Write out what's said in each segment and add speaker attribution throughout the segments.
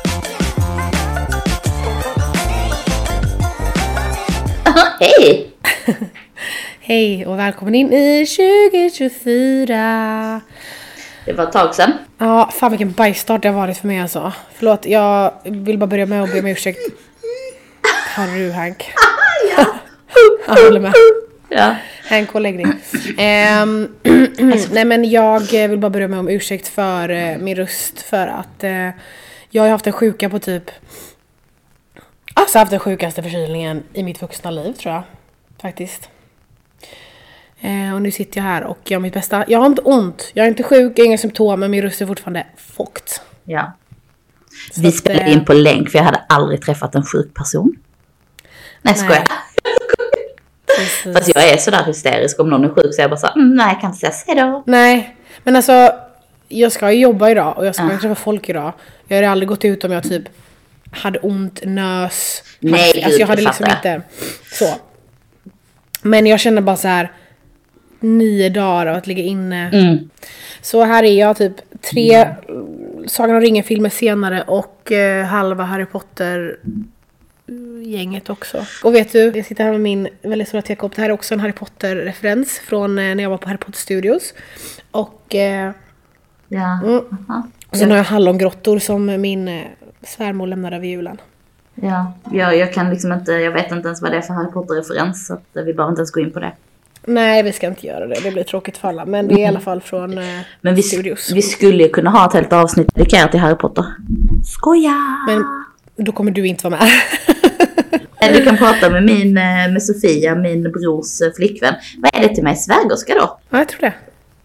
Speaker 1: Hej och välkommen in i 2024!
Speaker 2: Det var ett tag sedan.
Speaker 1: Ja, fan vilken bajsstart det har varit för mig alltså. Förlåt, jag vill bara börja med att be om ursäkt. Hörru du Hank? ja. Jag håller med.
Speaker 2: Ja.
Speaker 1: Hank och läggning. Ehm, nej men jag eh, vill bara börja med om ursäkt för eh, min röst för att eh, jag har haft en sjuka på typ Alltså haft den sjukaste förkylningen i mitt vuxna liv tror jag. Faktiskt. Eh, och nu sitter jag här och gör mitt bästa. Jag har inte ont, jag är inte sjuk, jag har inga symptom men min röst är fortfarande fucked.
Speaker 2: ja.
Speaker 1: Så
Speaker 2: Vi
Speaker 1: att, eh,
Speaker 2: spelade in på länk för jag hade aldrig träffat en sjuk person. Nej, skojar.
Speaker 1: precis.
Speaker 2: Fast jag är sådär hysterisk om någon är sjuk så jag bara så, mm, nej jag kan inte ses, hejdå.
Speaker 1: Nej, men alltså jag ska ju jobba idag och jag
Speaker 2: Ah.
Speaker 1: ska ju träffa folk idag. Jag hade aldrig gått ut om jag typ hade ont, nös.
Speaker 2: Nej,
Speaker 1: hade, alltså
Speaker 2: gud,
Speaker 1: jag hade
Speaker 2: jag
Speaker 1: liksom
Speaker 2: fattar.
Speaker 1: inte så. Men jag känner bara så här nio dagar av att ligga inne.
Speaker 2: Mm.
Speaker 1: Så här är jag typ tre eh, Sagan om ringen-filmer senare och eh, halva Harry Potter-gänget också. Och vet du, jag sitter här med min väldigt stora tekopp. Det här är också en Harry Potter-referens från eh, när jag var på Harry Potter Studios. Och eh,
Speaker 2: Ja.
Speaker 1: Mm.
Speaker 2: Aha.
Speaker 1: sen har jag hallongrottor som min eh, svärmor lämnade över julen.
Speaker 2: Ja, jag, jag kan liksom inte, jag vet inte ens vad det är för Harry Potter-referens så att eh, vi behöver inte ens gå in på det.
Speaker 1: Nej, vi ska inte göra det. Det blir tråkigt för alla. Men det är i alla fall från eh,
Speaker 2: Men vi,
Speaker 1: Studios.
Speaker 2: vi skulle ju kunna ha ett helt avsnitt dedikerat till Harry Potter. Skoja!
Speaker 1: Men då kommer du inte vara med.
Speaker 2: Eh, Du kan prata med min, eh, med Sofia, min brors eh, flickvän. Vad är det till mig? Svägerska då?
Speaker 1: ja, jag tror det.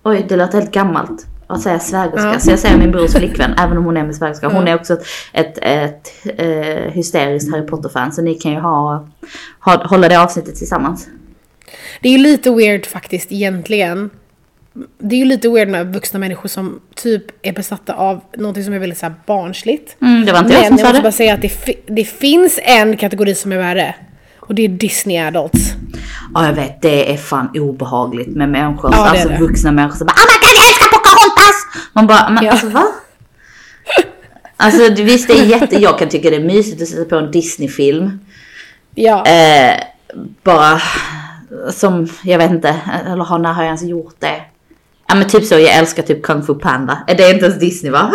Speaker 2: Oj, det lät helt gammalt att säga svägerska.
Speaker 1: Ja.
Speaker 2: Så jag säger min brors flickvän, även om hon är min svägerska. Hon är också ett, ett, ett eh, hysteriskt Harry Potter-fan. Så ni kan ju ha, ha, hålla det avsnittet tillsammans.
Speaker 1: Det är ju lite weird faktiskt egentligen. Det är ju lite weird med vuxna människor som typ är besatta av någonting som är väldigt så här barnsligt.
Speaker 2: Mm, det var inte
Speaker 1: Men jag
Speaker 2: jag som sa
Speaker 1: måste bara
Speaker 2: det.
Speaker 1: säga att det, fi- det finns en kategori som är värre. Och det är Disney Adults.
Speaker 2: Ja, jag vet. Det är fan obehagligt med människor.
Speaker 1: Ja, det är
Speaker 2: alltså
Speaker 1: det.
Speaker 2: vuxna människor som bara "Ah, man kan inte älska Pocahontas! Man bara, men
Speaker 1: Ja.
Speaker 2: alltså va? Alltså det- visst, det är jätte... Jag kan tycka det är mysigt att sätta på en Disney-film.
Speaker 1: Ja,
Speaker 2: Eh, bara som, jag vet inte, eller har, när har jag ens gjort det? Ja men typ så, jag älskar typ Kung Fu Panda. Eh, Det är inte ens Disney va?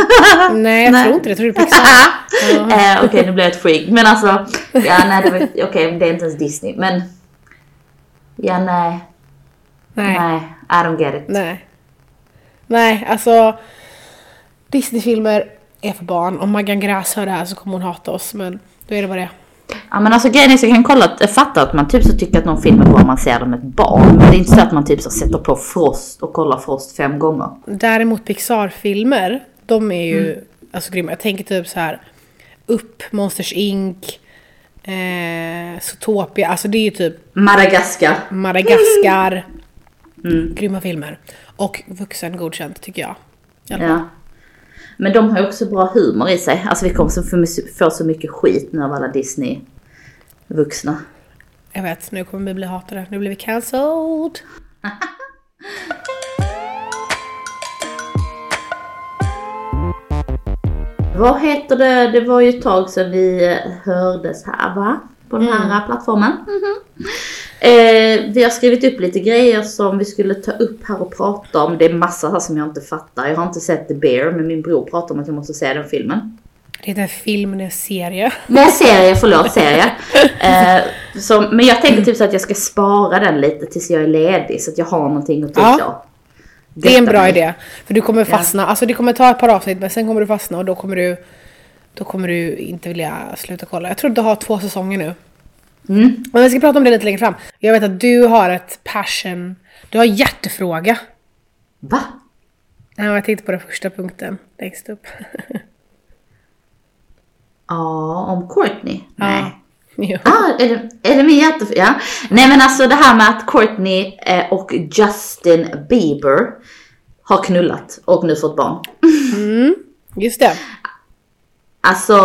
Speaker 1: nej jag
Speaker 2: nej.
Speaker 1: tror inte det. Jag tror det är Pixar.
Speaker 2: eh, Okej nu blir jag ett freak. Men alltså, ja nej det var, okej det är inte ens Disney. Men, ja nej, nej,
Speaker 1: Nej.
Speaker 2: I don't get it.
Speaker 1: Nej. Nej, alltså. Disney-filmer är för barn. Om Maggan Gräs hör det här så kommer hon hata oss. Men då är det bara det.
Speaker 2: Ja men alltså grejen är så jag kan kolla, att- fatta att man typ så tycker att någon film är bra om man ser den med ett barn. Men det är inte så att man typ så sätter på Frost och kollar Frost fem gånger.
Speaker 1: Däremot Pixar-filmer, de är ju
Speaker 2: Mm.
Speaker 1: alltså grymma. Jag tänker typ så här Upp, Monsters Inc, eh, Zootopia, alltså det är ju typ
Speaker 2: Madagaskar.
Speaker 1: Madagaskar.
Speaker 2: Mm.
Speaker 1: Grymma filmer. Och vuxen godkänt tycker jag. I alla fall.
Speaker 2: Ja. Men de har ju också bra humor i sig. Alltså vi kommer så få, få så mycket skit nu av alla Disney-vuxna.
Speaker 1: Jag vet, nu kommer vi bli hatade. Nu blir vi cancelled.
Speaker 2: Vad heter det? Det var ju ett tag sedan vi eh, hördes här va? På den här eh, plattformen. Mhm. Eh, vi har skrivit upp lite grejer som vi skulle ta upp här och prata om. Det är massa här som jag inte fattar. Jag har inte sett The Bear men min bror pratar om att jag måste se den filmen.
Speaker 1: Det är inte en film, det är en serie.
Speaker 2: Nej, serie, förlåt, serie. Eh, som, men jag tänker typ så att jag ska spara den lite tills jag är ledig så att jag har någonting att typ
Speaker 1: Ja.
Speaker 2: så.
Speaker 1: Det är en
Speaker 2: götta
Speaker 1: bra
Speaker 2: mig.
Speaker 1: idé. För du kommer fastna. Alltså det kommer ta ett par avsnitt men sen kommer du fastna och då kommer du då kommer du inte vilja sluta kolla. Jag tror du har två säsonger nu.
Speaker 2: Mm.
Speaker 1: Men vi ska prata om det lite längre fram. Jag vet att du har ett passion... Du har en hjärtefråga.
Speaker 2: Va?
Speaker 1: Ja, jag tänkte på den första punkten längst upp.
Speaker 2: Ja, om Courtney? Nej.
Speaker 1: Jo.
Speaker 2: Ah, är, det, är det min hjärtefråga? Ja. Nej men alltså det här med att Courtney eh, och Justin Bieber har knullat och nu fått barn.
Speaker 1: Just det.
Speaker 2: Alltså,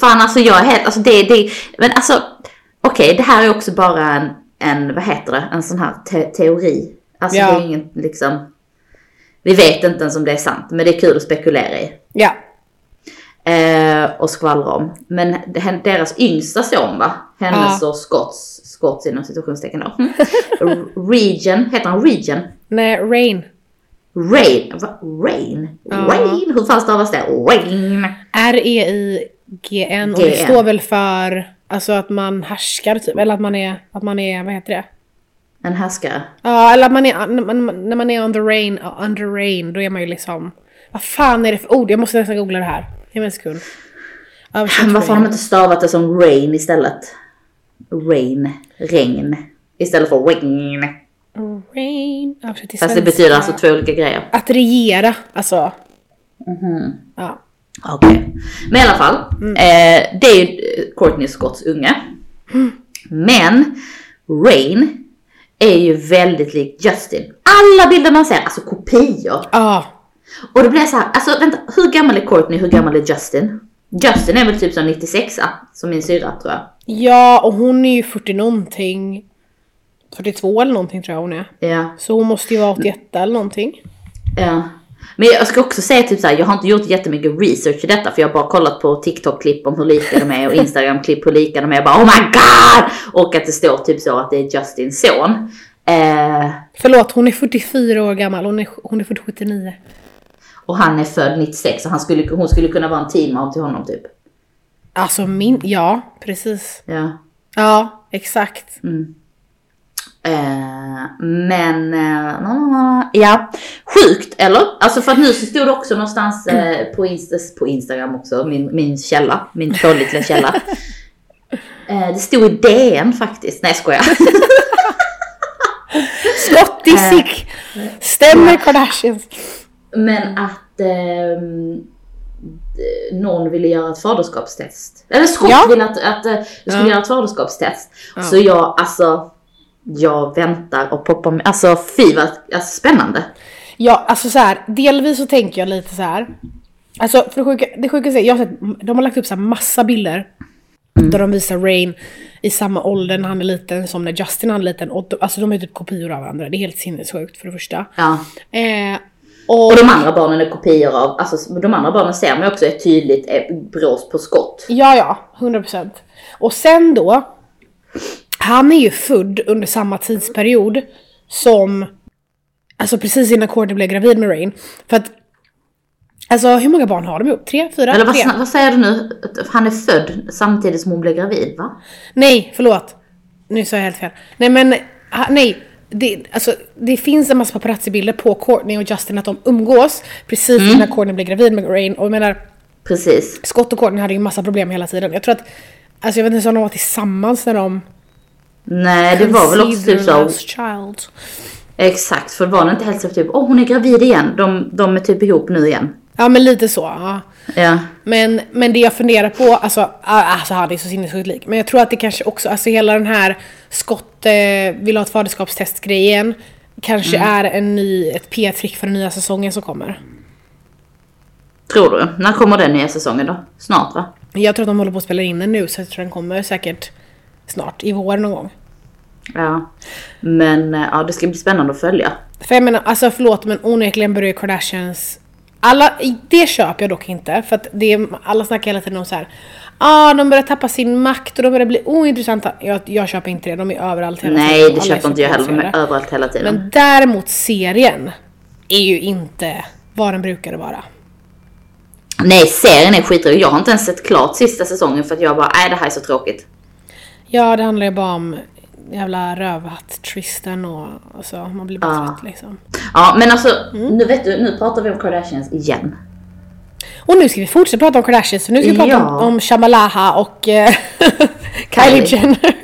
Speaker 2: fan alltså jag är helt, alltså det, det, men alltså okej det här är också bara en, en vad heter det, en sån här te- teori. Alltså
Speaker 1: Ja.
Speaker 2: det är ingen liksom, vi vet inte ens om det är sant men det är kul att spekulera i.
Speaker 1: Ja.
Speaker 2: eh, och skvallra om. Men hen- deras yngsta son va, hennes och Scotts, Scotts inom situationstecken då. Region, heter han Region?
Speaker 1: Nej, Rain.
Speaker 2: Rain, va? Rain? Rain? Hur fan stavas det? Rain?
Speaker 1: E R-E-I-G-N. Och det
Speaker 2: GN.
Speaker 1: står väl för alltså att man härskar typ. Eller att man är, att man är, vad heter det?
Speaker 2: En härskare.
Speaker 1: Ja, eller att man är, när man, när man är on the rain, ja, under rain, då är man ju liksom... Vad fan är det för ord? Jag måste nästan googla det här. Ge mig en sekund. Översätt
Speaker 2: Men
Speaker 1: för
Speaker 2: varför har de
Speaker 1: mig.
Speaker 2: inte stavat det som rain istället? Rain. Regn. Istället för regn.
Speaker 1: Rain. Översätt till
Speaker 2: Fast det
Speaker 1: svenska.
Speaker 2: betyder alltså två olika grejer.
Speaker 1: Att regera, alltså.
Speaker 2: Mhm.
Speaker 1: Ja.
Speaker 2: Okej. Men i alla fall. Eh, det är ju eh, Courtney Scotts unge. Men Rain är ju väldigt lik Justin. Alla bilder man ser, alltså kopior.
Speaker 1: Ja.
Speaker 2: Och det blir så här, alltså vänta, hur gammal är Courtney, hur gammal är Justin? Justin är väl typ som 96 som min syrra tror jag.
Speaker 1: Ja, och hon är ju 40 någonting. 42 eller någonting tror jag hon är.
Speaker 2: Ja.
Speaker 1: Så hon måste ju vara 81 eller någonting.
Speaker 2: Ja. Men jag ska också säga typ så här, jag har inte gjort jättemycket research i detta för jag har bara kollat på TikTok-klipp om hur lika de är och Instagram-klipp hur lika de är. Jag bara oh my god! Och att det står typ så att det är Justins son. Eh,
Speaker 1: Förlåt, hon är 44 år gammal. Hon är, hon är född 79.
Speaker 2: och han är född 96 och han skulle, hon skulle kunna vara en teammom till honom typ.
Speaker 1: Alltså min... Ja, precis.
Speaker 2: Ja.
Speaker 1: Ja, exakt.
Speaker 2: Eh, men, eh, na, na, na. ja, sjukt eller? Alltså för att nu så stod det också någonstans eh, på, Insta, på Instagram också, min, min källa, min pålitliga källa. Eh, det stod i DN faktiskt, nej jag skojar.
Speaker 1: Skottisig! Stämmer Kardashians?
Speaker 2: Men att ehm, d- någon ville göra ett faderskapstest. Eller Scott
Speaker 1: Ja.
Speaker 2: ville att, att eh, jag skulle
Speaker 1: Ja.
Speaker 2: göra ett faderskapstest.
Speaker 1: Ja.
Speaker 2: Så jag, alltså, jag väntar och poppar mig. Alltså fy vad alltså, spännande.
Speaker 1: Ja, alltså så här, delvis så tänker jag lite så här. Alltså för det sjuka, det sjuka är, jag har sett, de har lagt upp så här massa bilder. Där de visar Rain i samma ålder när han är liten som när Justin han är liten. Och de, alltså de är typ kopior av varandra, det är helt sinnessjukt för det första.
Speaker 2: Ja.
Speaker 1: Eh, och,
Speaker 2: Och de andra barnen är kopior av, alltså de andra barnen ser man ju också är tydligt är brås på skott.
Speaker 1: Ja, ja, 100%. Och sen då, han är ju född under samma tidsperiod som, alltså precis innan Courtney blev gravid med Rain. För att, alltså hur många barn har de ihop? Tre, fyra,
Speaker 2: Eller vad,
Speaker 1: tre?
Speaker 2: sna- vad säger du nu? Att Han är född samtidigt som hon blev gravid va?
Speaker 1: Nej, förlåt. Nu sa jag helt fel. Nej men, ha- nej. Det, alltså, det finns en massa paparazzi-bilder på Courtney och Justin att de umgås precis
Speaker 2: Mm.
Speaker 1: innan Courtney blev gravid med Rain. Och jag menar,
Speaker 2: Precis.
Speaker 1: Scott och Courtney hade ju massa problem hela tiden. Jag tror att, alltså jag vet inte ens om de var tillsammans när de
Speaker 2: Nej det var väl också typ
Speaker 1: Conceived
Speaker 2: så.
Speaker 1: as child.
Speaker 2: Exakt för var det inte helt så typ åh hon är gravid igen. De, de är typ ihop nu igen.
Speaker 1: Ja men lite så. Ja.
Speaker 2: Ja.
Speaker 1: Men, men det jag funderar på, alltså, ah, alltså han är så sinnessjukt lik. Men jag tror att det kanske också, alltså hela den här skott eh, vill ha ett faderskapstest grejen. Kanske
Speaker 2: Mm.
Speaker 1: är en ny, ett PR-trick för den nya säsongen som kommer.
Speaker 2: Tror du? När kommer den nya säsongen då? Snart va?
Speaker 1: Jag tror att de håller på att spela in den nu så jag tror den kommer säkert snart, i vår någon gång.
Speaker 2: Ja. Men eh, ja det ska bli spännande att följa.
Speaker 1: För jag menar, alltså förlåt men onekligen börjar ju Kardashians alla, det köper jag dock inte, för att det är, alla snackar hela tiden om så här. ah, de börjar tappa sin makt och de börjar bli ointressanta. Jag, jag köper inte det, de är överallt hela
Speaker 2: Nej
Speaker 1: tiden.
Speaker 2: det
Speaker 1: Alla är
Speaker 2: köper
Speaker 1: så
Speaker 2: inte jag heller. De är
Speaker 1: påfrestande.
Speaker 2: överallt hela tiden.
Speaker 1: Men däremot serien är ju inte vad den brukade vara.
Speaker 2: Nej serien är skitrolig. Jag har inte ens sett klart sista säsongen för att jag bara nej det här är så tråkigt.
Speaker 1: Ja, det handlar ju bara om jävla rövhatt Tristan och alltså, man blir bara
Speaker 2: Ah.
Speaker 1: trött liksom.
Speaker 2: Ja men alltså, nu vet du, nu pratar vi om Kardashians igen.
Speaker 1: Och nu ska vi fortsätta prata om Kardashians, för nu ska vi prata
Speaker 2: Ja.
Speaker 1: om, om Shamalaha och eh,
Speaker 2: Kylie.
Speaker 1: Kylie Jenner.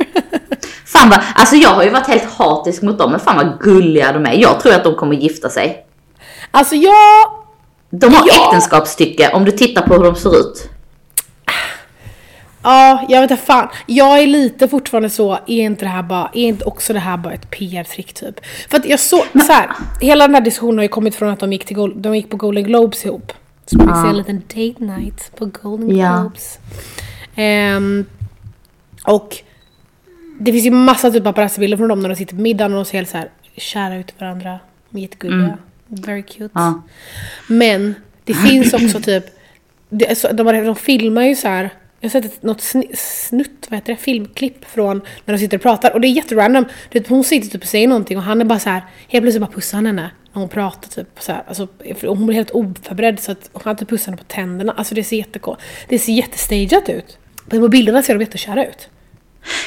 Speaker 2: Fan vad, alltså jag har ju varit helt hatisk mot dem, men fan vad gulliga de är. Jag tror att de kommer gifta sig.
Speaker 1: Alltså jag...
Speaker 2: De har
Speaker 1: Ja.
Speaker 2: äktenskapsstycke om du tittar på hur de ser ut.
Speaker 1: Ja, jag vet inte fan. Jag är lite fortfarande så, är inte det här bara, är inte också det här bara ett PR-trick typ? För att jag såg, så här, hela den här diskussionen har ju kommit från att de gick, till, Gol- de gick på Golden Globes ihop. Så man fick se en liten date night på Golden
Speaker 2: Ja.
Speaker 1: Globes. Ehm, och det finns ju massa typ paparazzi-bilder från dem när de sitter på middagen och de ser helt så här kära ut för varandra. De är Jättegulliga. Very cute.
Speaker 2: Ja.
Speaker 1: Men det finns också typ det, är så- de, har- de filmar ju så här. Jag har sett ett, något sni- snutt, vad heter det, filmklipp från när de sitter och pratar. Och det är jätterandom. Du vet, hon sitter typ och säger någonting och han är bara så här. helt plötsligt bara pussar han henne. När hon pratar typ så här. Alltså, för hon blir helt oförberedd så att och han typ pussar henne på tänderna. Alltså det ser jätteko- det ser jättestageat ut. Men på bilderna ser de jättekära ut.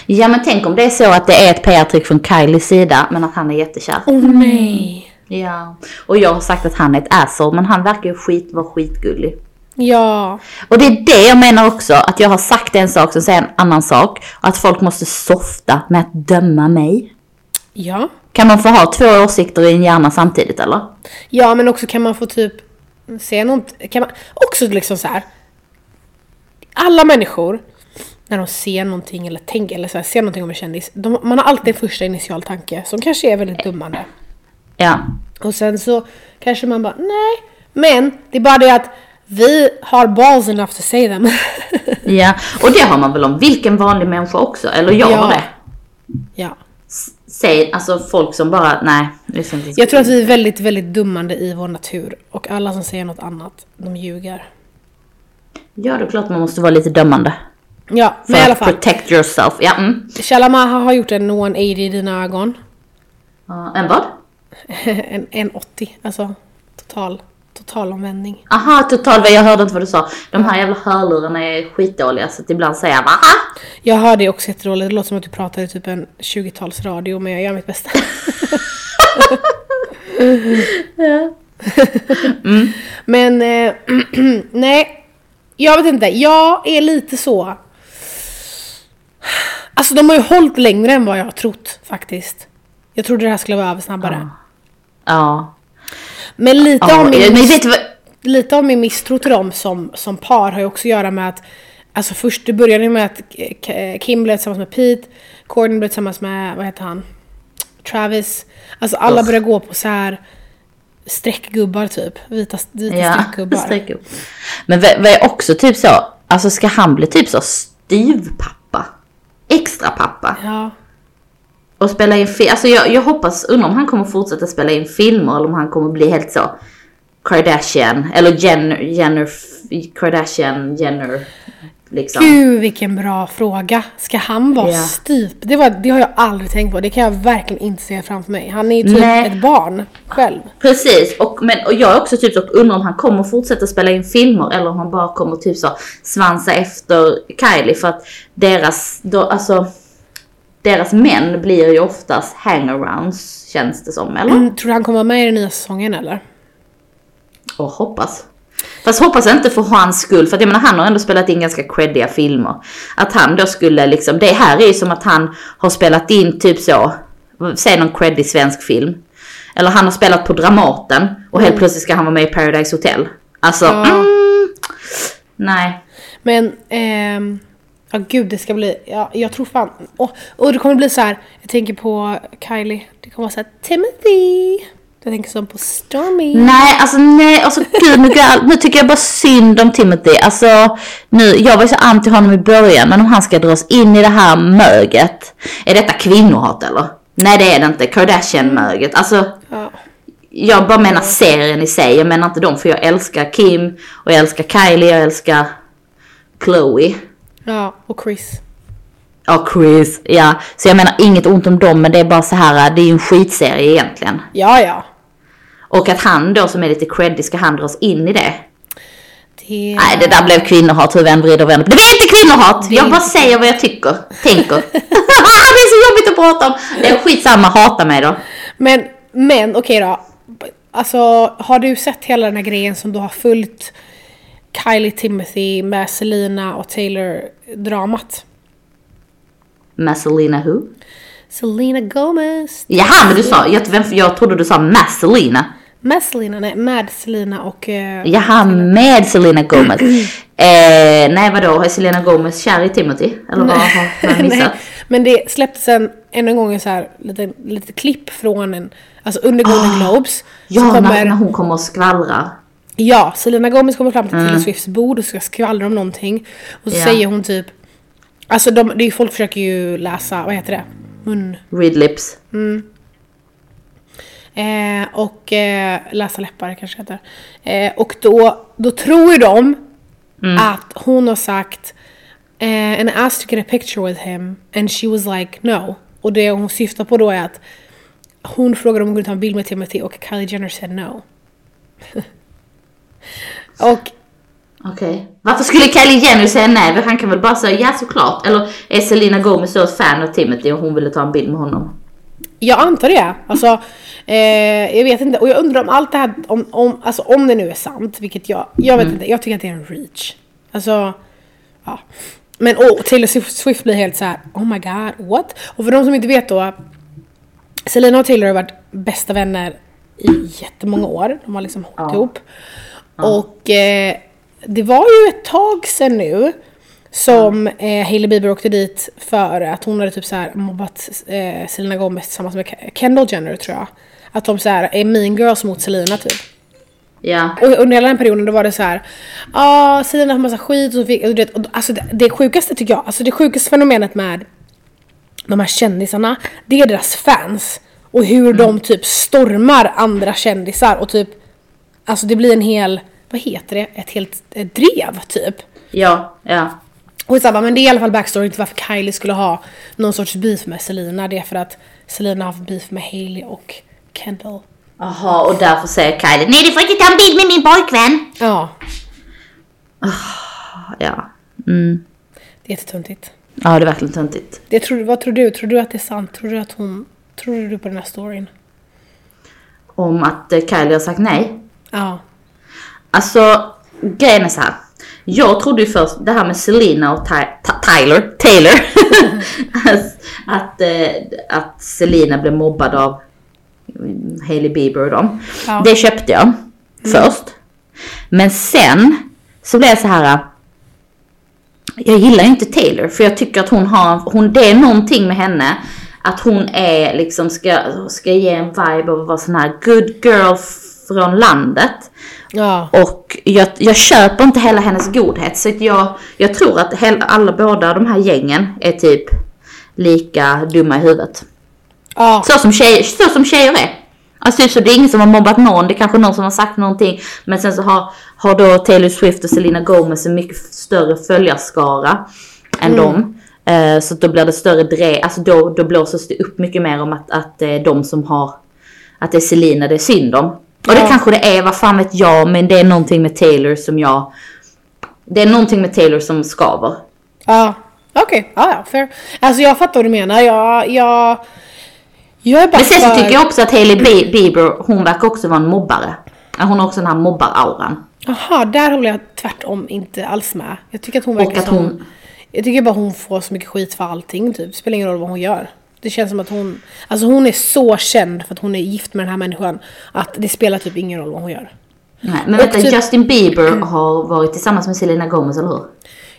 Speaker 2: Ja men tänk om det är så att det är ett PR-trick från Kylies sida men att han är jättekär.
Speaker 1: Åh oh, nej!
Speaker 2: Ja. Och jag har sagt att han är ett asshole men han verkar ju skit, vara skitgullig.
Speaker 1: Ja.
Speaker 2: Och det är det jag menar också, att jag har sagt en sak som säger en annan sak. Att folk måste softa med att döma mig.
Speaker 1: Ja.
Speaker 2: Kan man få ha två åsikter i en hjärna samtidigt eller?
Speaker 1: Ja, men också kan man få typ se något, kan man också liksom så här. Alla människor, när de ser någonting eller tänker, eller så här, ser någonting om en kändis, de, man har alltid en första initial tanke som kanske är väldigt dummande.
Speaker 2: Ja.
Speaker 1: Och sen så kanske man bara, nej. Men det är bara det att vi har balls enough to say them.
Speaker 2: Ja. Och det har man väl om vilken vanlig människa också, eller jag
Speaker 1: Ja.
Speaker 2: har det.
Speaker 1: ja.
Speaker 2: Säg, alltså folk som bara, nej. Liksom,
Speaker 1: Jag tror att vi är väldigt, väldigt dummande i vår natur. Och alla som säger något annat, de ljuger.
Speaker 2: Ja, det är klart man måste vara lite dömande.
Speaker 1: Ja,
Speaker 2: För
Speaker 1: men i alla
Speaker 2: att
Speaker 1: fall.
Speaker 2: protect yourself. Ja, mm.
Speaker 1: Shalamaha har gjort en 180 i dina ögon.
Speaker 2: Ja, En vad?
Speaker 1: en, en 80, alltså total, total omvändning.
Speaker 2: Aha, total, jag hörde inte vad du sa. De här jävla hörlurarna är skitdåliga så att ibland säger jag bara, aha!
Speaker 1: Jag hör det också jättedåligt, det låter som att du pratar i typ en 20-talsradio men jag gör mitt bästa. Mm. Men eh, nej, jag vet inte, jag är lite så. Alltså de har ju hållit längre än vad jag har trott faktiskt. Jag trodde det här skulle vara över snabbare.
Speaker 2: Ja.
Speaker 1: Men lite
Speaker 2: ja.
Speaker 1: av min
Speaker 2: men vet du vad?
Speaker 1: lite av min misstro till dem som, som par har ju också att göra med att Alltså först, det började ju med att eh, K- eh, Kim blev tillsammans med Pete, Corden blev tillsammans med, vad heter han? Travis. Alltså alla
Speaker 2: Ugh.
Speaker 1: började gå på så här streckgubbar typ. Vita, vita streckgubbar.
Speaker 2: streckgubbar. Men vad vad är också typ så, alltså ska han bli typ så styvpappa? Extra pappa?
Speaker 1: Ja.
Speaker 2: Och spela in film, alltså jag, jag hoppas, undrar om han kommer fortsätta spela in filmer eller om han kommer bli helt så Kardashian, eller Jenner, Jenner, Kardashian, Jenner, liksom.
Speaker 1: Gud vilken bra fråga. Ska han vara
Speaker 2: Ja.
Speaker 1: styv? Det, var, det har jag aldrig tänkt på. Det kan jag verkligen inte se framför mig. Han är ju typ
Speaker 2: Nej.
Speaker 1: ett barn själv.
Speaker 2: Precis, och, men, och jag är också typ så undrar om han kommer fortsätta spela in filmer eller om han bara kommer typ så svansa efter Kylie för att deras, då, alltså deras män blir ju oftast hangarounds känns det som, eller?
Speaker 1: Mm, tror du han kommer vara med i den nya säsongen eller?
Speaker 2: Och hoppas. Fast hoppas inte för hans skull, för att jag menar han har ändå spelat in ganska creddiga filmer. Att han då skulle liksom, det här är ju som att han har spelat in typ så, säg någon creddig svensk film. Eller han har spelat på Dramaten och helt plötsligt ska han vara med i Paradise Hotel. Alltså,
Speaker 1: Ja.
Speaker 2: mm, nej.
Speaker 1: Men, ehm, ja gud det ska bli, ja, jag tror fan, och, och det kommer bli så här. jag tänker på Kylie, det kommer vara så här Timothy. Jag tänker som på Stormy.
Speaker 2: Nej, alltså nej, alltså gud nu, går jag- nu tycker jag bara synd om Timothy. Alltså nu, jag var ju så anti honom i början, men om han ska dras in i det här möget. Är detta kvinnohat eller? Nej det är det inte, Kardashian-möget. Alltså
Speaker 1: Ja.
Speaker 2: jag bara menar serien i sig, jag menar inte dem för jag älskar Kim och jag älskar Kylie, jag älskar Chloe.
Speaker 1: ja, och Chris.
Speaker 2: Ja, Chris. Ja, så jag menar inget ont om dem men det är bara så här, det är ju en skitserie egentligen.
Speaker 1: Ja, ja.
Speaker 2: Och att han då som är lite creddig, ska han dras in i det?
Speaker 1: Det,
Speaker 2: Nej, det där blev kvinnohat hur vi än vrider och vänder på det. Det är inte kvinnohat!
Speaker 1: Det är
Speaker 2: Jag bara
Speaker 1: inte.
Speaker 2: säger vad jag tycker, tänker. det är så jobbigt att prata om. Det är skitsamma, hata mig då.
Speaker 1: Men, men okej då. Alltså, har du sett hela den här grejen som du har följt Kylie Timothy med Selena och Taylor-dramat?
Speaker 2: Med Selena who?
Speaker 1: Selena Gomez.
Speaker 2: Jaha, men du sa, jag, vem, jag trodde du sa med Selena.
Speaker 1: Med Selena, nej, med Selena och... eh,
Speaker 2: Jaha, med Selena Gomez. Eh, nej vadå, är Selena Gomez kär i Timothy? Eller vad har jag
Speaker 1: Nej,
Speaker 2: missat?
Speaker 1: men det släpptes en, ännu en gång en så här, lite, lite klipp från en, alltså under Golden Globes.
Speaker 2: Ah, Ja,
Speaker 1: så
Speaker 2: när, när
Speaker 1: kommer,
Speaker 2: hon kommer och skvallrar.
Speaker 1: ja, Selena Gomez kommer fram till Taylor Swifts bord och ska skvallra om någonting. Och så
Speaker 2: Mm. Ja.
Speaker 1: säger hon typ, alltså de, det är ju, folk försöker ju läsa, vad heter det? Mun.
Speaker 2: Red lips.
Speaker 1: Eh, och eh, läsa läppar kanske heter. Eh, och då, då tror ju de att hon har sagt eh, And I asked to get a picture with him and she was like no. Och det hon syftar på då är att hon frågade om hon kunde ta en bild med Timothy och Kylie Jenner said no. och
Speaker 2: Okej. Varför skulle Kylie Jenner säga nej? Han kan väl bara säga ja såklart. Eller är Selena Gomez så ett fan av Timothy och hon ville ta en bild med honom?
Speaker 1: Jag antar det. Alltså, eh, jag vet inte. Och jag undrar om allt det här, om, om, alltså, om det nu är sant, vilket jag, jag vet inte. Jag tycker att det är en reach. Alltså, ja. Men och Taylor Swift Swift blir helt så här: oh my god, what? Och för de som inte vet då, Selena och Taylor har varit bästa vänner i jättemånga år. De har liksom
Speaker 2: Ja.
Speaker 1: hållit ihop. Och eh, det var ju ett tag sedan nu som eh, Hailey Bieber åkte dit för att hon hade typ så här mobbat eh, Selena Gomez tillsammans med Ke- Kendall Jenner tror jag. Att de så här är mean girls mot Selena typ.
Speaker 2: Ja.
Speaker 1: Och under hela den perioden då var det så här, ja ah, Selena har massa skit och så fick, och du vet, och, alltså det, det sjukaste tycker jag, alltså det sjukaste fenomenet med de här kändisarna, det är deras fans. Och hur de typ stormar andra kändisar och typ, alltså det blir en hel, vad heter det, ett helt eh, drev typ.
Speaker 2: Ja. Ja.
Speaker 1: Och samma, men det är i alla fall backstory till varför Kylie skulle ha någon sorts beef med Selena. Det är för att Selena har haft beef med Hailey och Kendall.
Speaker 2: Jaha, och därför säger Kylie nej du får inte ta en bild med min pojkvän.
Speaker 1: Ja,
Speaker 2: Ja. Mm.
Speaker 1: det är jättetöntigt.
Speaker 2: Ja, det är verkligen töntigt.
Speaker 1: Det tror, du- vad tror du? Tror du att det är sant? Tror du att hon... Tror du på den här storyn?
Speaker 2: Om att eh, Kylie har sagt nej.
Speaker 1: Ja.
Speaker 2: Alltså, grejen är så här. Jag trodde ju först det här med Selena och Ty- Ta- Tyler, Taylor. att, att, eh, att Selena blev mobbad av mm, Hailey Bieber och dem.
Speaker 1: Ja.
Speaker 2: Det köpte jag först. Men sen så blev jag så här. Jag gillar ju inte Taylor för jag tycker att hon har, hon, det är någonting med henne. Att hon är liksom ska, ska ge en vibe av att vara sån här good girl från landet.
Speaker 1: Ja.
Speaker 2: Och jag, jag köper inte hela hennes godhet. Så att jag, jag tror att hela, alla båda de här gängen är typ lika dumma i huvudet.
Speaker 1: Ja.
Speaker 2: Så som tjejer, så som tjejer är. Alltså typ så det är ingen som har mobbat någon, det är kanske någon som har sagt någonting. Men sen så har, har då Taylor Swift och Selena Gomez en mycket större följarskara
Speaker 1: Mm.
Speaker 2: än dem. Eh, så att då blir det större dre, alltså då, då blåses det upp mycket mer om att, att det är de som har, att det är Selena det är synd om. Och det
Speaker 1: Ja.
Speaker 2: kanske det är, vad fan vet jag, men det är någonting med Taylor som jag, det är någonting med Taylor som skaver.
Speaker 1: Ja. Okej. Ja, ja. Fair. Alltså jag fattar vad du menar. Jag... Jag, jag är bara
Speaker 2: Men sen så
Speaker 1: för-
Speaker 2: tycker jag också att Hailey Bi- Bieber, hon verkar också vara en mobbare. Hon har också den här mobbar-auran.
Speaker 1: Jaha, där håller jag tvärtom inte alls med. Jag tycker att hon
Speaker 2: Och
Speaker 1: verkar
Speaker 2: att
Speaker 1: som...
Speaker 2: hon-
Speaker 1: Jag tycker bara hon får så mycket skit för allting typ. Spelar ingen roll vad hon gör. Det känns som att hon... Alltså hon är så känd för att hon är gift med den här människan. Att det spelar typ ingen roll vad hon gör.
Speaker 2: Nej, men vänta,
Speaker 1: typ-
Speaker 2: Justin Bieber har varit tillsammans med Selena Gomez, eller hur?
Speaker 1: Mm.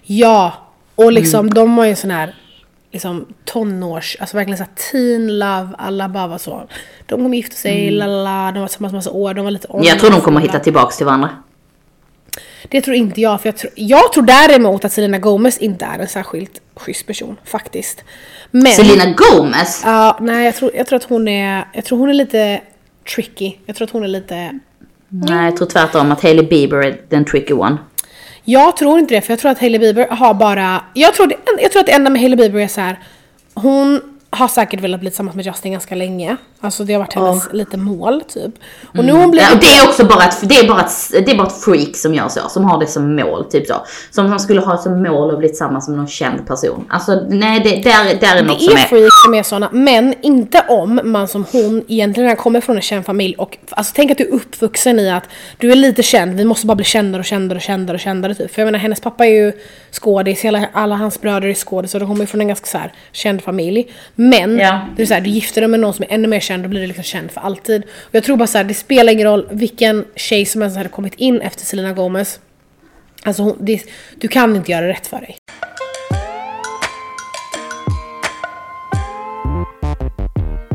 Speaker 1: Ja, och liksom
Speaker 2: Mm.
Speaker 1: de har ju en sån här liksom tonårs, alltså verkligen såhär teen love, alla bara var så. De kommer gifta sig, la la la, de var tillsammans massa år, de var lite
Speaker 2: Mm. Jag tror de kommer
Speaker 1: ångerfulla.
Speaker 2: hitta tillbaks till varandra.
Speaker 1: Det tror inte jag, för jag tror, jag tror däremot att Selena Gomez inte är en särskilt schysst person, faktiskt. Men,
Speaker 2: Selena Gomez?
Speaker 1: ja, nej jag tror, jag tror att hon är, jag tror hon är lite tricky. Jag tror att hon är lite, Mm.
Speaker 2: Nej, jag tror tvärtom att Hailey Bieber är den tricky one.
Speaker 1: Jag tror inte det, för jag tror att Hailey Bieber har bara... Jag tror, det, jag tror att det enda med Hailey Bieber är så här. Hon har säkert velat bli tillsammans med Justin ganska länge. Alltså det har varit hennes lite mål typ. Och nu har hon blivit...
Speaker 2: Mm. Ja, och det är också bara ett, det är bara ett, det är bara ett freak som gör så, som har det som mål, typ så. Som som skulle ha som mål att bli tillsammans med någon känd person. Alltså nej, det, där, där är något
Speaker 1: Det
Speaker 2: som
Speaker 1: är
Speaker 2: är...
Speaker 1: freak som är såna, men inte om man som hon egentligen kommer från en känd familj och alltså tänk att du är uppvuxen i att du är lite känd, vi måste bara bli kändare och kändare och kändare och kändare typ. För jag menar hennes pappa är ju skådis, hela, alla hans bröder är skådis och de kommer ju från en ganska så här känd familj. Men
Speaker 2: Ja.
Speaker 1: det är så här, du gifter dig med någon som är ännu mer känd, då blir du liksom känd för alltid. Och jag tror bara så här, det spelar ingen roll vilken tjej som ens hade kommit in efter Selena Gomez. Alltså hon, det, du kan inte göra rätt för dig.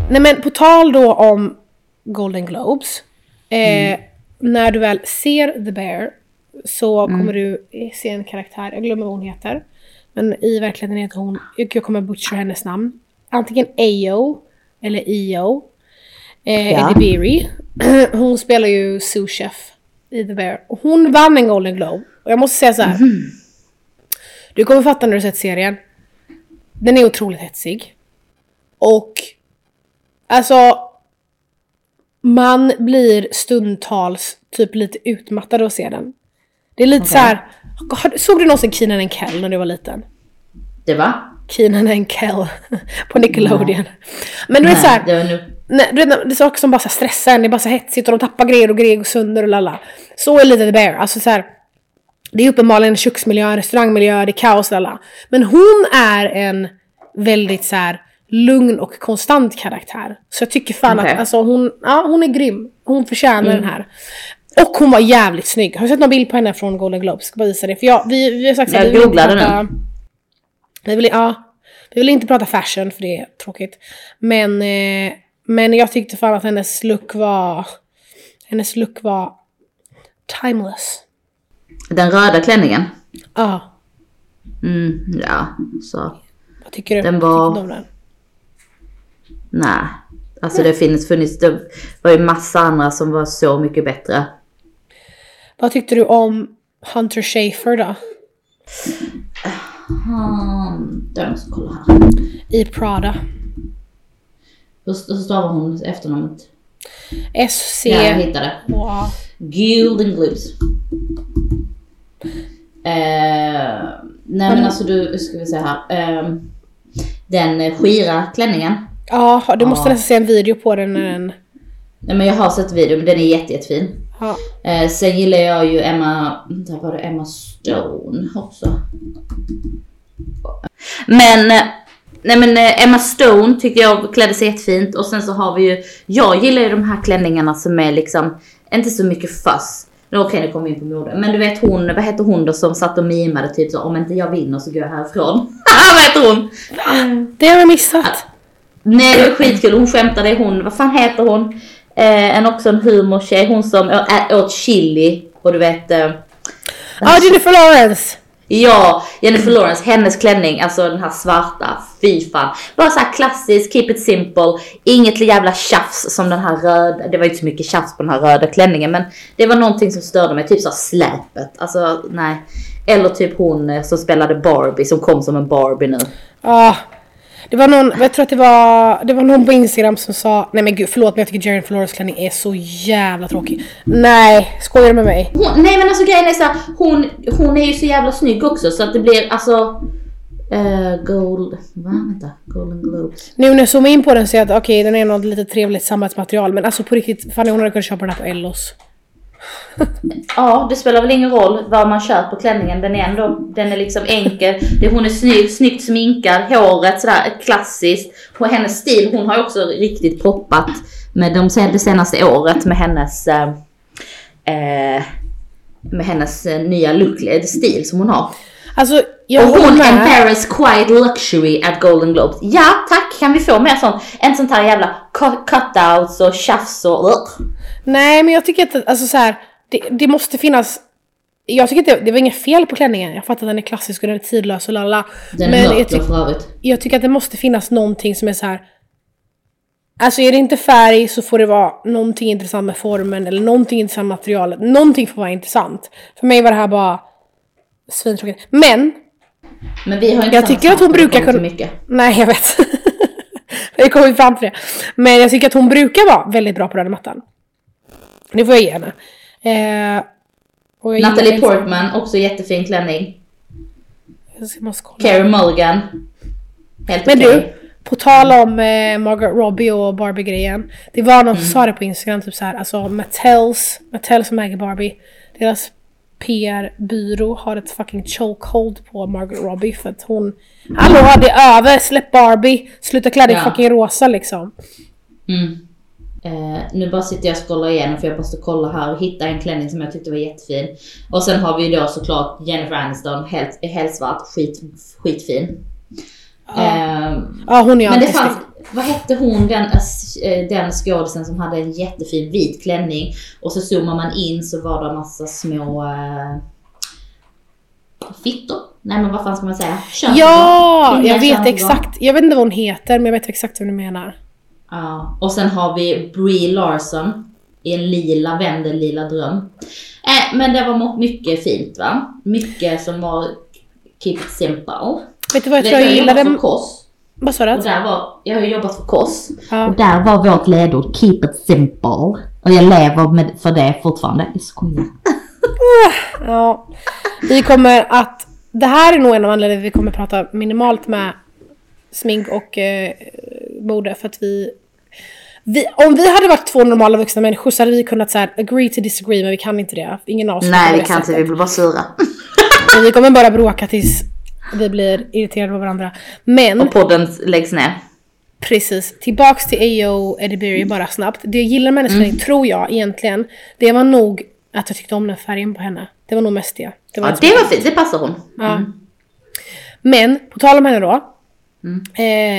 Speaker 1: Nej men på tal då om Golden Globes. Eh, När du väl ser The Bear så kommer du se en karaktär, jag glömmer vad hon heter. Men i verkligheten heter hon, jag kommer butchera hennes namn. Antingen Ayo eller Io. Eh,
Speaker 2: Ja.
Speaker 1: Eddie Beery. Hon spelar ju souschef i The Bear. Och Hon vann en Golden Globe Och jag måste säga så här. Du kommer fatta när du sett serien. Den är otroligt hetsig. Och alltså man blir stundtals typ lite utmattad av att se den. Det är lite så här. har- såg du någonsin Keenan and Kel när du var liten?
Speaker 2: Det var?
Speaker 1: Keenan and Kel på Nickelodeon. Men du vet så här,
Speaker 2: det var nu.
Speaker 1: Nej, du vet, när- det är saker som bara så här stressar en, det är bara så här hetsigt och de tappar grejer och grejer går sönder och lalla. Så är lite The Bear, alltså så här. Det är uppenbarligen en köksmiljö, en restaurangmiljö, det är kaos lalla. Men hon är en väldigt så här lugn och konstant karaktär. Så jag tycker fan
Speaker 2: Okej.
Speaker 1: att alltså, hon, ja, hon är grym. Hon förtjänar den här. Och hon var jävligt snygg. Har du sett någon bild på henne från Golden Globes? Ska bara visa det. För jag, vi, vi har sagt så här,
Speaker 2: Jag
Speaker 1: vi vill
Speaker 2: googlade
Speaker 1: inte
Speaker 2: den.
Speaker 1: prata- vi vill, ja, vi vill inte prata fashion för det är tråkigt. Men, eh, men jag tyckte fan att hennes look var... Hennes look var timeless.
Speaker 2: Den röda klänningen.
Speaker 1: Ja,
Speaker 2: Mm, ja, så
Speaker 1: vad tycker du?
Speaker 2: Den var-
Speaker 1: Tycker du om den?
Speaker 2: nej. Alltså det finns funnits, det var ju massa andra som var så mycket bättre.
Speaker 1: Vad tyckte du om Hunter Schafer då?
Speaker 2: Hmm, jag måste kolla här.
Speaker 1: I Prada.
Speaker 2: Hur hur stavar hon efternamnet?
Speaker 1: SC...
Speaker 2: Ja, jag hittade.
Speaker 1: och A.
Speaker 2: Golden Globes. Eh, nej men alltså du, ska vi säga här. Eh, den skira klänningen.
Speaker 1: Ja, du måste
Speaker 2: Ja.
Speaker 1: nästan se en video på den när den...
Speaker 2: Nej men jag har sett videon, den är jätte, jättefin.
Speaker 1: Ja.
Speaker 2: Eh, sen gillar jag ju Emma, där var det Emma Stone också. Men, eh, nej men eh, Emma Stone tyckte jag klädde sig jättefint och sen så har vi ju, jag gillar ju de här klänningarna som är liksom, inte så mycket fuss. Nu, Okej nu kommer vi in på mode, men du vet hon, vad heter hon då som satt och mimade typ så om inte jag vinner så går jag härifrån. vad heter hon?
Speaker 1: Det har jag missat!
Speaker 2: Nej det var skitkul, hon skämtade, hon, vad fan heter hon? Eh, en också en humortjej, hon som å- ä- åt chili och du vet eh,
Speaker 1: Ja, ah, Jennifer Lawrence!
Speaker 2: Ja, Jennifer Lawrence, hennes klänning, alltså den här svarta, fy fan. Bara så här klassisk, keep it simple, inget jävla tjafs som den här röda, det var ju inte så mycket tjafs på den här röda klänningen men det var någonting som störde mig, typ så här släpet, alltså nej. Eller typ hon eh, som spelade Barbie, som kom som en Barbie nu.
Speaker 1: Ja. Det var någon, jag tror att det var, det var någon på Instagram som sa, nej men gud förlåt men jag tycker Jennifer Lawrence klänning är så jävla tråkig. Nej, skojar du med mig?
Speaker 2: Hon, nej men alltså grejen är så här, hon, hon är ju så jävla snygg också så att det blir alltså... eh, gold... Va? Vänta. Golden Globes.
Speaker 1: Nu när jag zoomar in på den så är jag att okej den är något lite trevligt samarbetsmaterial men alltså på riktigt, fan hon hade kunnat köpa den här på Ellos.
Speaker 2: Ja, det spelar väl ingen roll vad man köper på klänningen. Den är ändå, den är liksom enkel. Det, hon är snygg, snyggt sminkad, håret sådär klassiskt. Och hennes stil, hon har ju också riktigt poppat med de, sen- det senaste året med hennes... eh, eh, med hennes eh, nya look, stil som hon har.
Speaker 1: Alltså jag
Speaker 2: och hon
Speaker 1: håller med.
Speaker 2: en Paris Quiet Luxury at Golden Globes. Ja tack, kan vi få mer sånt? En sånt här jävla cut- cutouts och tjafs och... Ugh.
Speaker 1: Nej men jag tycker att, alltså så här, det, det måste finnas jag tycker inte, det var inget fel på klänningen, jag fattar att den är klassisk och den är tidlös och lalla.
Speaker 2: Den
Speaker 1: men
Speaker 2: mörkblå
Speaker 1: jag, tyck,
Speaker 2: för övrigt.
Speaker 1: jag tycker att det måste finnas någonting som är så här. Alltså är det inte färg så får det vara någonting intressant med formen eller någonting intressant med materialet. Någonting får vara intressant. För mig var det här bara svintråkigt. Men!
Speaker 2: Men vi har inte
Speaker 1: Jag
Speaker 2: samma
Speaker 1: tycker att hon
Speaker 2: smak, det
Speaker 1: brukar
Speaker 2: kommer
Speaker 1: kunna-
Speaker 2: till Mycket.
Speaker 1: Nej jag vet. Vi kommer fram till det. Men jag tycker att hon brukar vara väldigt bra på röda mattan. Det får jag ge henne. Eh, och jag
Speaker 2: Natalie
Speaker 1: gillar-
Speaker 2: Portman, också jättefin klänning.
Speaker 1: Jag ska- måste kolla.
Speaker 2: Carey Mulligan. Helt
Speaker 1: Men
Speaker 2: okej.
Speaker 1: du, på tal om eh, Margaret Robbie och Barbie-grejen. Det var någon som
Speaker 2: Mm.
Speaker 1: sa det på Instagram, typ så här, alltså Mattels, Mattel som äger Barbie, deras PR-byrå har ett fucking chokehold på Margaret Robbie för att hon... Hallå, det är över! Släpp Barbie! Sluta klä dig
Speaker 2: Ja.
Speaker 1: fucking rosa liksom.
Speaker 2: Mm. Eh, nu bara sitter jag och scrollar igenom för jag måste kolla här och hitta en klänning som jag tyckte var jättefin. Och sen har vi ju då såklart Jennifer Aniston, helt, helt svart, skit, skitfin. Ehm,
Speaker 1: Ja, hon är ju
Speaker 2: men det
Speaker 1: alltid
Speaker 2: fanns,
Speaker 1: snygg.
Speaker 2: vad hette hon den, eh, den skådisen som hade en jättefin vit klänning och så zoomar man in så var det massa små eh, fittor. Nej men vad fan ska man säga? Könsorgan.
Speaker 1: Ja,
Speaker 2: Kvinnliga
Speaker 1: jag vet
Speaker 2: könsorgan.
Speaker 1: exakt. Jag vet inte vad hon heter, men jag vet exakt vad du menar.
Speaker 2: Ja, och sen har vi Brie Larson i en lila vänder lila dröm. Eh, men det var mo- mycket fint va? Mycket som var keep it simple.
Speaker 1: Vet du vad jag
Speaker 2: Det-
Speaker 1: tror jag
Speaker 2: har jobbat
Speaker 1: gillade?
Speaker 2: för KOS.
Speaker 1: Vad sa du?
Speaker 2: Och där var, jag har ju jobbat för KOS.
Speaker 1: Ja.
Speaker 2: Och där var vårt ledord keep it simple. Och jag lever med, för det fortfarande. Jag skojar.
Speaker 1: Ja. Vi kommer att... Det här är nog en av anledningarna vi kommer prata minimalt med smink och eh, mode för att vi, vi... Om vi hade varit två normala vuxna människor så hade vi kunnat så här, agree to disagree men vi kan inte det. Ingen av oss på det sättet.
Speaker 2: blir bara sura.
Speaker 1: Men vi kommer bara bråka tills vi blir irriterade på varandra. Men
Speaker 2: Och podden läggs ner.
Speaker 1: Precis. Tillbaks till AO Edibiri bara snabbt. Det jag gillar med hennes färg, tror jag egentligen, det var nog att jag tyckte om den färgen på henne. Det var nog mest det. det, var
Speaker 2: Ja,
Speaker 1: inte så
Speaker 2: det
Speaker 1: mycket.
Speaker 2: var fint, det passar hon.
Speaker 1: Ja.
Speaker 2: Mm.
Speaker 1: Men, på tal om henne då.
Speaker 2: Mm.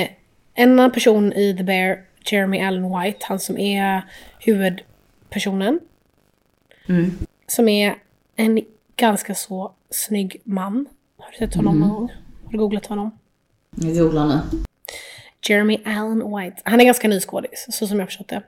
Speaker 1: Eh, en annan person i The Bear, Jeremy Allen White, han som är huvudpersonen.
Speaker 2: Mm.
Speaker 1: Som är en ganska så snygg man. Har du sett honom
Speaker 2: Mm.
Speaker 1: någon gång? Har du googlat honom?
Speaker 2: Jag googlar nu.
Speaker 1: Jeremy Allen White. Han är ganska ny skådis, så som jag förstått
Speaker 2: Mm.
Speaker 1: det.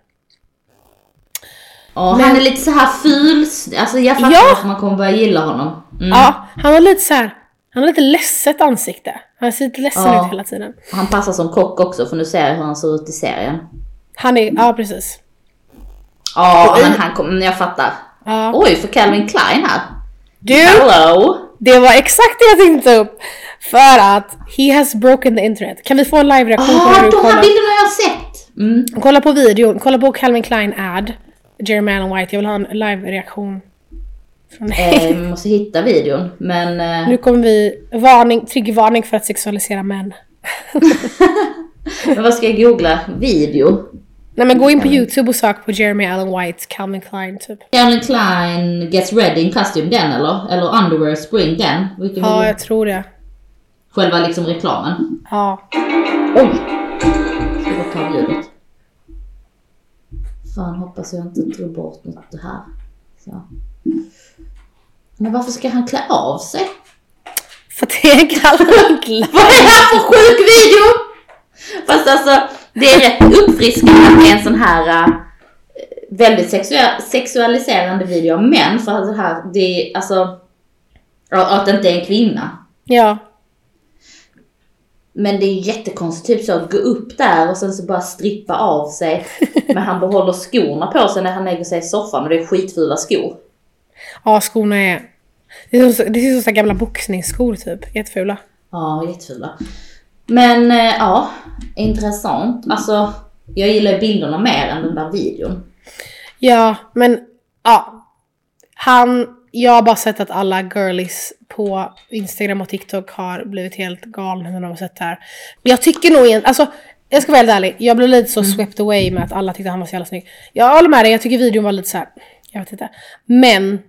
Speaker 2: Ja, Han är lite så här ful, alltså jag fattar
Speaker 1: Ja.
Speaker 2: att man kommer börja gilla honom. Mm.
Speaker 1: Ja, han har lite så här. Han har lite ledset ansikte. Han ser lite ledsen
Speaker 2: Ja.
Speaker 1: ut hela tiden.
Speaker 2: Och Han passar som kock också för nu ser jag hur han ser ut i serien.
Speaker 1: Han är, ja precis.
Speaker 2: Ja, men han kommer, men jag fattar.
Speaker 1: Ja.
Speaker 2: Oj, för Calvin Klein här.
Speaker 1: Du,
Speaker 2: Hello!
Speaker 1: det var exakt det jag tänkte ta upp. För att he has broken the internet. Kan vi få en live-reaktion på
Speaker 2: Ah,
Speaker 1: hur du
Speaker 2: de här
Speaker 1: kollar?
Speaker 2: bilderna har jag sett! Mm.
Speaker 1: Kolla på videon, kolla på Calvin Klein ad. Jeremy Allen White, jag vill ha en live-reaktion. Från dig.
Speaker 2: Eh, vi måste hitta videon, men... Eh,
Speaker 1: Nu kommer vi, varning, triggervarning för att sexualisera män.
Speaker 2: men vad ska jag googla? Video?
Speaker 1: Nej men gå in på youtube och sök på Jeremy Allen White, Calvin Klein typ.
Speaker 2: Calvin Klein gets ready in costume, den eller? Eller underwear spring, den? Vilken
Speaker 1: Ja,
Speaker 2: vill du?
Speaker 1: jag tror det.
Speaker 2: Själva liksom reklamen.
Speaker 1: Ja.
Speaker 2: Oj! Ska jag ta ljudet. Fan hoppas jag inte drog bort något det här. Så. Men varför ska han klä av sig?
Speaker 1: För det är Calvin Klein.
Speaker 2: Vad är det här för sjuk video? Fast alltså det är rätt uppfriskande att det är en sån här eh, väldigt sexua- sexualiserande video av män för att det här, det är alltså ja, att det inte är en kvinna.
Speaker 1: Ja.
Speaker 2: Men det är jättekonstigt, typ så att gå upp där och sen så bara strippa av sig. Men han behåller skorna på sig när han lägger sig i soffan och det är skitfula skor.
Speaker 1: Ja, skorna är... Det ser ut som- det ser ut som så här gamla boxningsskor typ. Jättefula.
Speaker 2: Ja, jättefula. Men eh, ja, intressant. Alltså, jag gillar bilderna mer än den där videon.
Speaker 1: Ja, men ja. Han... Jag har bara sett att alla girlies på Instagram och TikTok har blivit helt galna när de har sett det här. Men jag tycker nog egentligen, alltså jag ska vara helt ärlig, jag blev lite så swept away med att alla tyckte han var så jävla snygg. Jag håller med dig, jag tycker videon var lite så här. jag vet inte. Men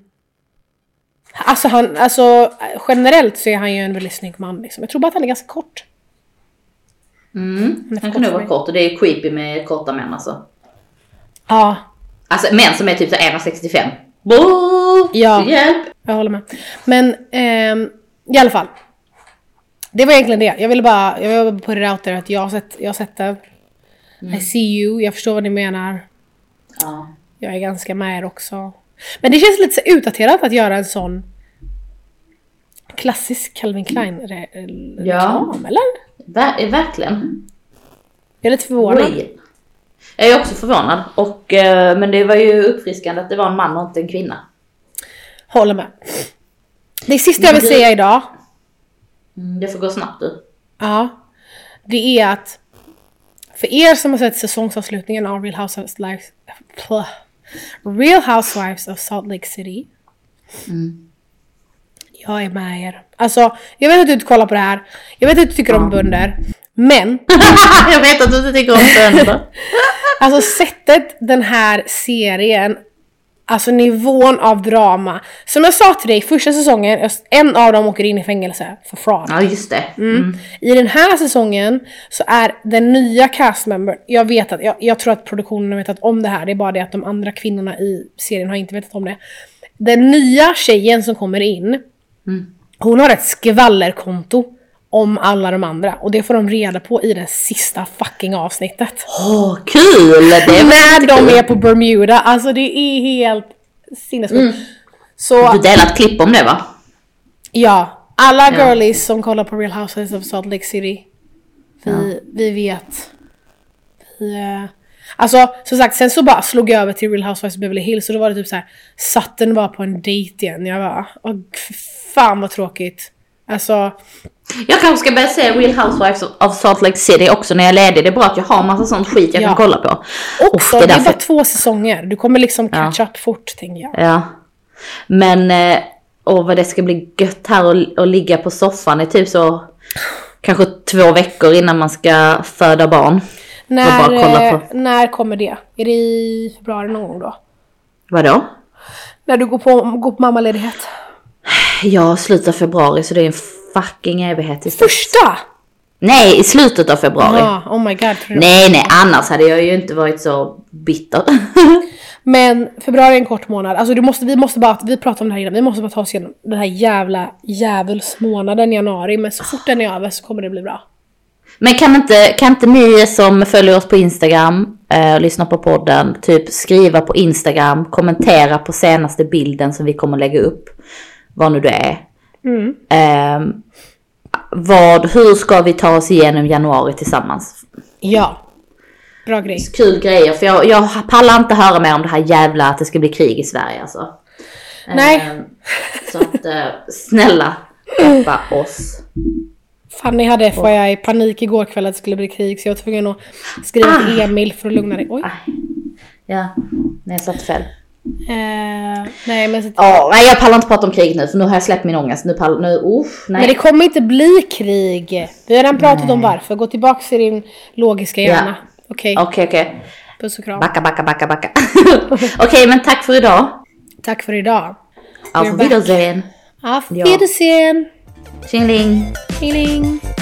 Speaker 1: Alltså, han, alltså generellt så är han ju en väldigt snygg man liksom. Jag tror bara att han är ganska kort.
Speaker 2: Mm. Han kan nog vara kort och det är creepy med korta män alltså.
Speaker 1: Ja,
Speaker 2: Alltså män som är typ så 1,65. Boo!
Speaker 1: Ja.
Speaker 2: Hjälp!
Speaker 1: Jag håller med. Men ehm, i alla fall. Det var egentligen det. Jag ville bara, jag ville bara put it out there att jag har sett, jag har sett det.
Speaker 2: Mm.
Speaker 1: I see you, jag förstår vad ni menar.
Speaker 2: Ja.
Speaker 1: Jag är ganska med er också. Men det känns lite så utdaterat att göra en sån klassisk Calvin Klein re- re-
Speaker 2: Ja.
Speaker 1: reklam, eller?
Speaker 2: Ver- eh, verkligen.
Speaker 1: Jag är lite förvånad.
Speaker 2: Oj. Jag är också förvånad. Och, eh, men det var ju uppfriskande att det var en man och inte en kvinna.
Speaker 1: Håller med. Det sista jag vill säga idag
Speaker 2: Mm, Det får gå snabbt du.
Speaker 1: Ja. Det är att för er som har sett säsongsavslutningen av Real Housewives, Plah. Real Housewives of Salt Lake City. Jag är med er. Alltså, jag vet att du inte kollar på det här. Jag vet att du tycker om bönder. Men,
Speaker 2: jag vet att du inte tycker om bönder.
Speaker 1: alltså sättet den här serien, alltså nivån av drama. Som jag sa till dig, första säsongen, en av dem åker in i fängelse för fraud.
Speaker 2: ja just det. Mm.
Speaker 1: I den här säsongen så är den nya castmembern, jag vet att, jag, jag tror att produktionen har vetat om det här, det är bara det att de andra kvinnorna i serien har inte vetat om det. Den nya tjejen som kommer in, hon har ett skvallerkonto om alla de andra och det får de reda på i det sista fucking avsnittet.
Speaker 2: Åh kul! Det var
Speaker 1: När de är på Bermuda, alltså det är helt sinnessjukt.
Speaker 2: Du
Speaker 1: Så
Speaker 2: delade ett klipp om det va?
Speaker 1: ja, alla
Speaker 2: Ja.
Speaker 1: girlies som kollar på Real Housewives of Salt Lake City. Vi, vi vet. Vi, eh, alltså som sagt, sen så bara slog jag över till Real Housewives of Beverly Hills och då var det typ så här. Satt den bara på en dejt igen. Jag bara, åh, fy fan vad tråkigt. Alltså,
Speaker 2: Jag kanske ska börja se Real Housewives of Salt Lake City också när jag är ledig. Det är bra att jag har massa sånt skit jag
Speaker 1: Ja.
Speaker 2: kan kolla på. Uff,
Speaker 1: också, det är
Speaker 2: därför-
Speaker 1: bara två säsonger. Du kommer liksom
Speaker 2: Ja.
Speaker 1: catch up fort tänker jag.
Speaker 2: Ja. Men, eh, åh vad det ska bli gött här och, och ligga på soffan i typ så kanske två veckor innan man ska föda barn.
Speaker 1: När,
Speaker 2: bara kolla
Speaker 1: eh,
Speaker 2: på.
Speaker 1: när kommer det? Är det i februari någon gång då?
Speaker 2: Vadå?
Speaker 1: När du går på, går på mammaledighet?
Speaker 2: Ja, slutet av februari så det är en fucking evighet tills dess.
Speaker 1: Första!
Speaker 2: Nej, i slutet av februari.
Speaker 1: Ja, oh my god. tror du-
Speaker 2: Nej, nej, annars hade jag ju inte varit så bitter.
Speaker 1: Men februari är en kort månad. Alltså du måste, vi måste bara, vi pratade om det här innan, vi måste bara ta oss igenom den här jävla djävulsmånaden januari. Men så fort den är över så kommer det bli bra.
Speaker 2: Men kan inte, kan inte ni som följer oss på Instagram eh, och lyssnar på podden, typ skriva på Instagram, kommentera på senaste bilden som vi kommer lägga upp, vad nu det är. Ehm, vad, hur ska vi ta oss igenom januari tillsammans?
Speaker 1: Ja. Bra grej.
Speaker 2: Kul grejer, för jag, jag pallar inte höra mer om det här jävla att det ska bli krig i Sverige alltså.
Speaker 1: Nej.
Speaker 2: Ehm, så att eh, snälla, hjälpa oss.
Speaker 1: Fanny hade FYI panik igår kväll att det skulle bli krig så jag var tvungen att skriva
Speaker 2: Ah.
Speaker 1: till Emil för att lugna dig. Oj.
Speaker 2: Ja, nej jag satt fel.
Speaker 1: Eh, nej men så
Speaker 2: Ja, nej jag pallar inte prata om krig nu för nu har jag släppt min ångest. Nu pallar, nu, uff, nej.
Speaker 1: Men det kommer inte bli krig. Vi har redan pratat om varför. Gå tillbaka till din logiska hjärna. Okej,
Speaker 2: Okej, okej.
Speaker 1: puss och kram.
Speaker 2: Backa, backa, backa, backa. okej, men tack för idag.
Speaker 1: Tack för idag.
Speaker 2: Auf
Speaker 1: back.
Speaker 2: Wiedersehen.
Speaker 1: Auf
Speaker 2: Ja.
Speaker 1: Wiedersehen.
Speaker 2: Tjingeling.
Speaker 1: Tjingeling.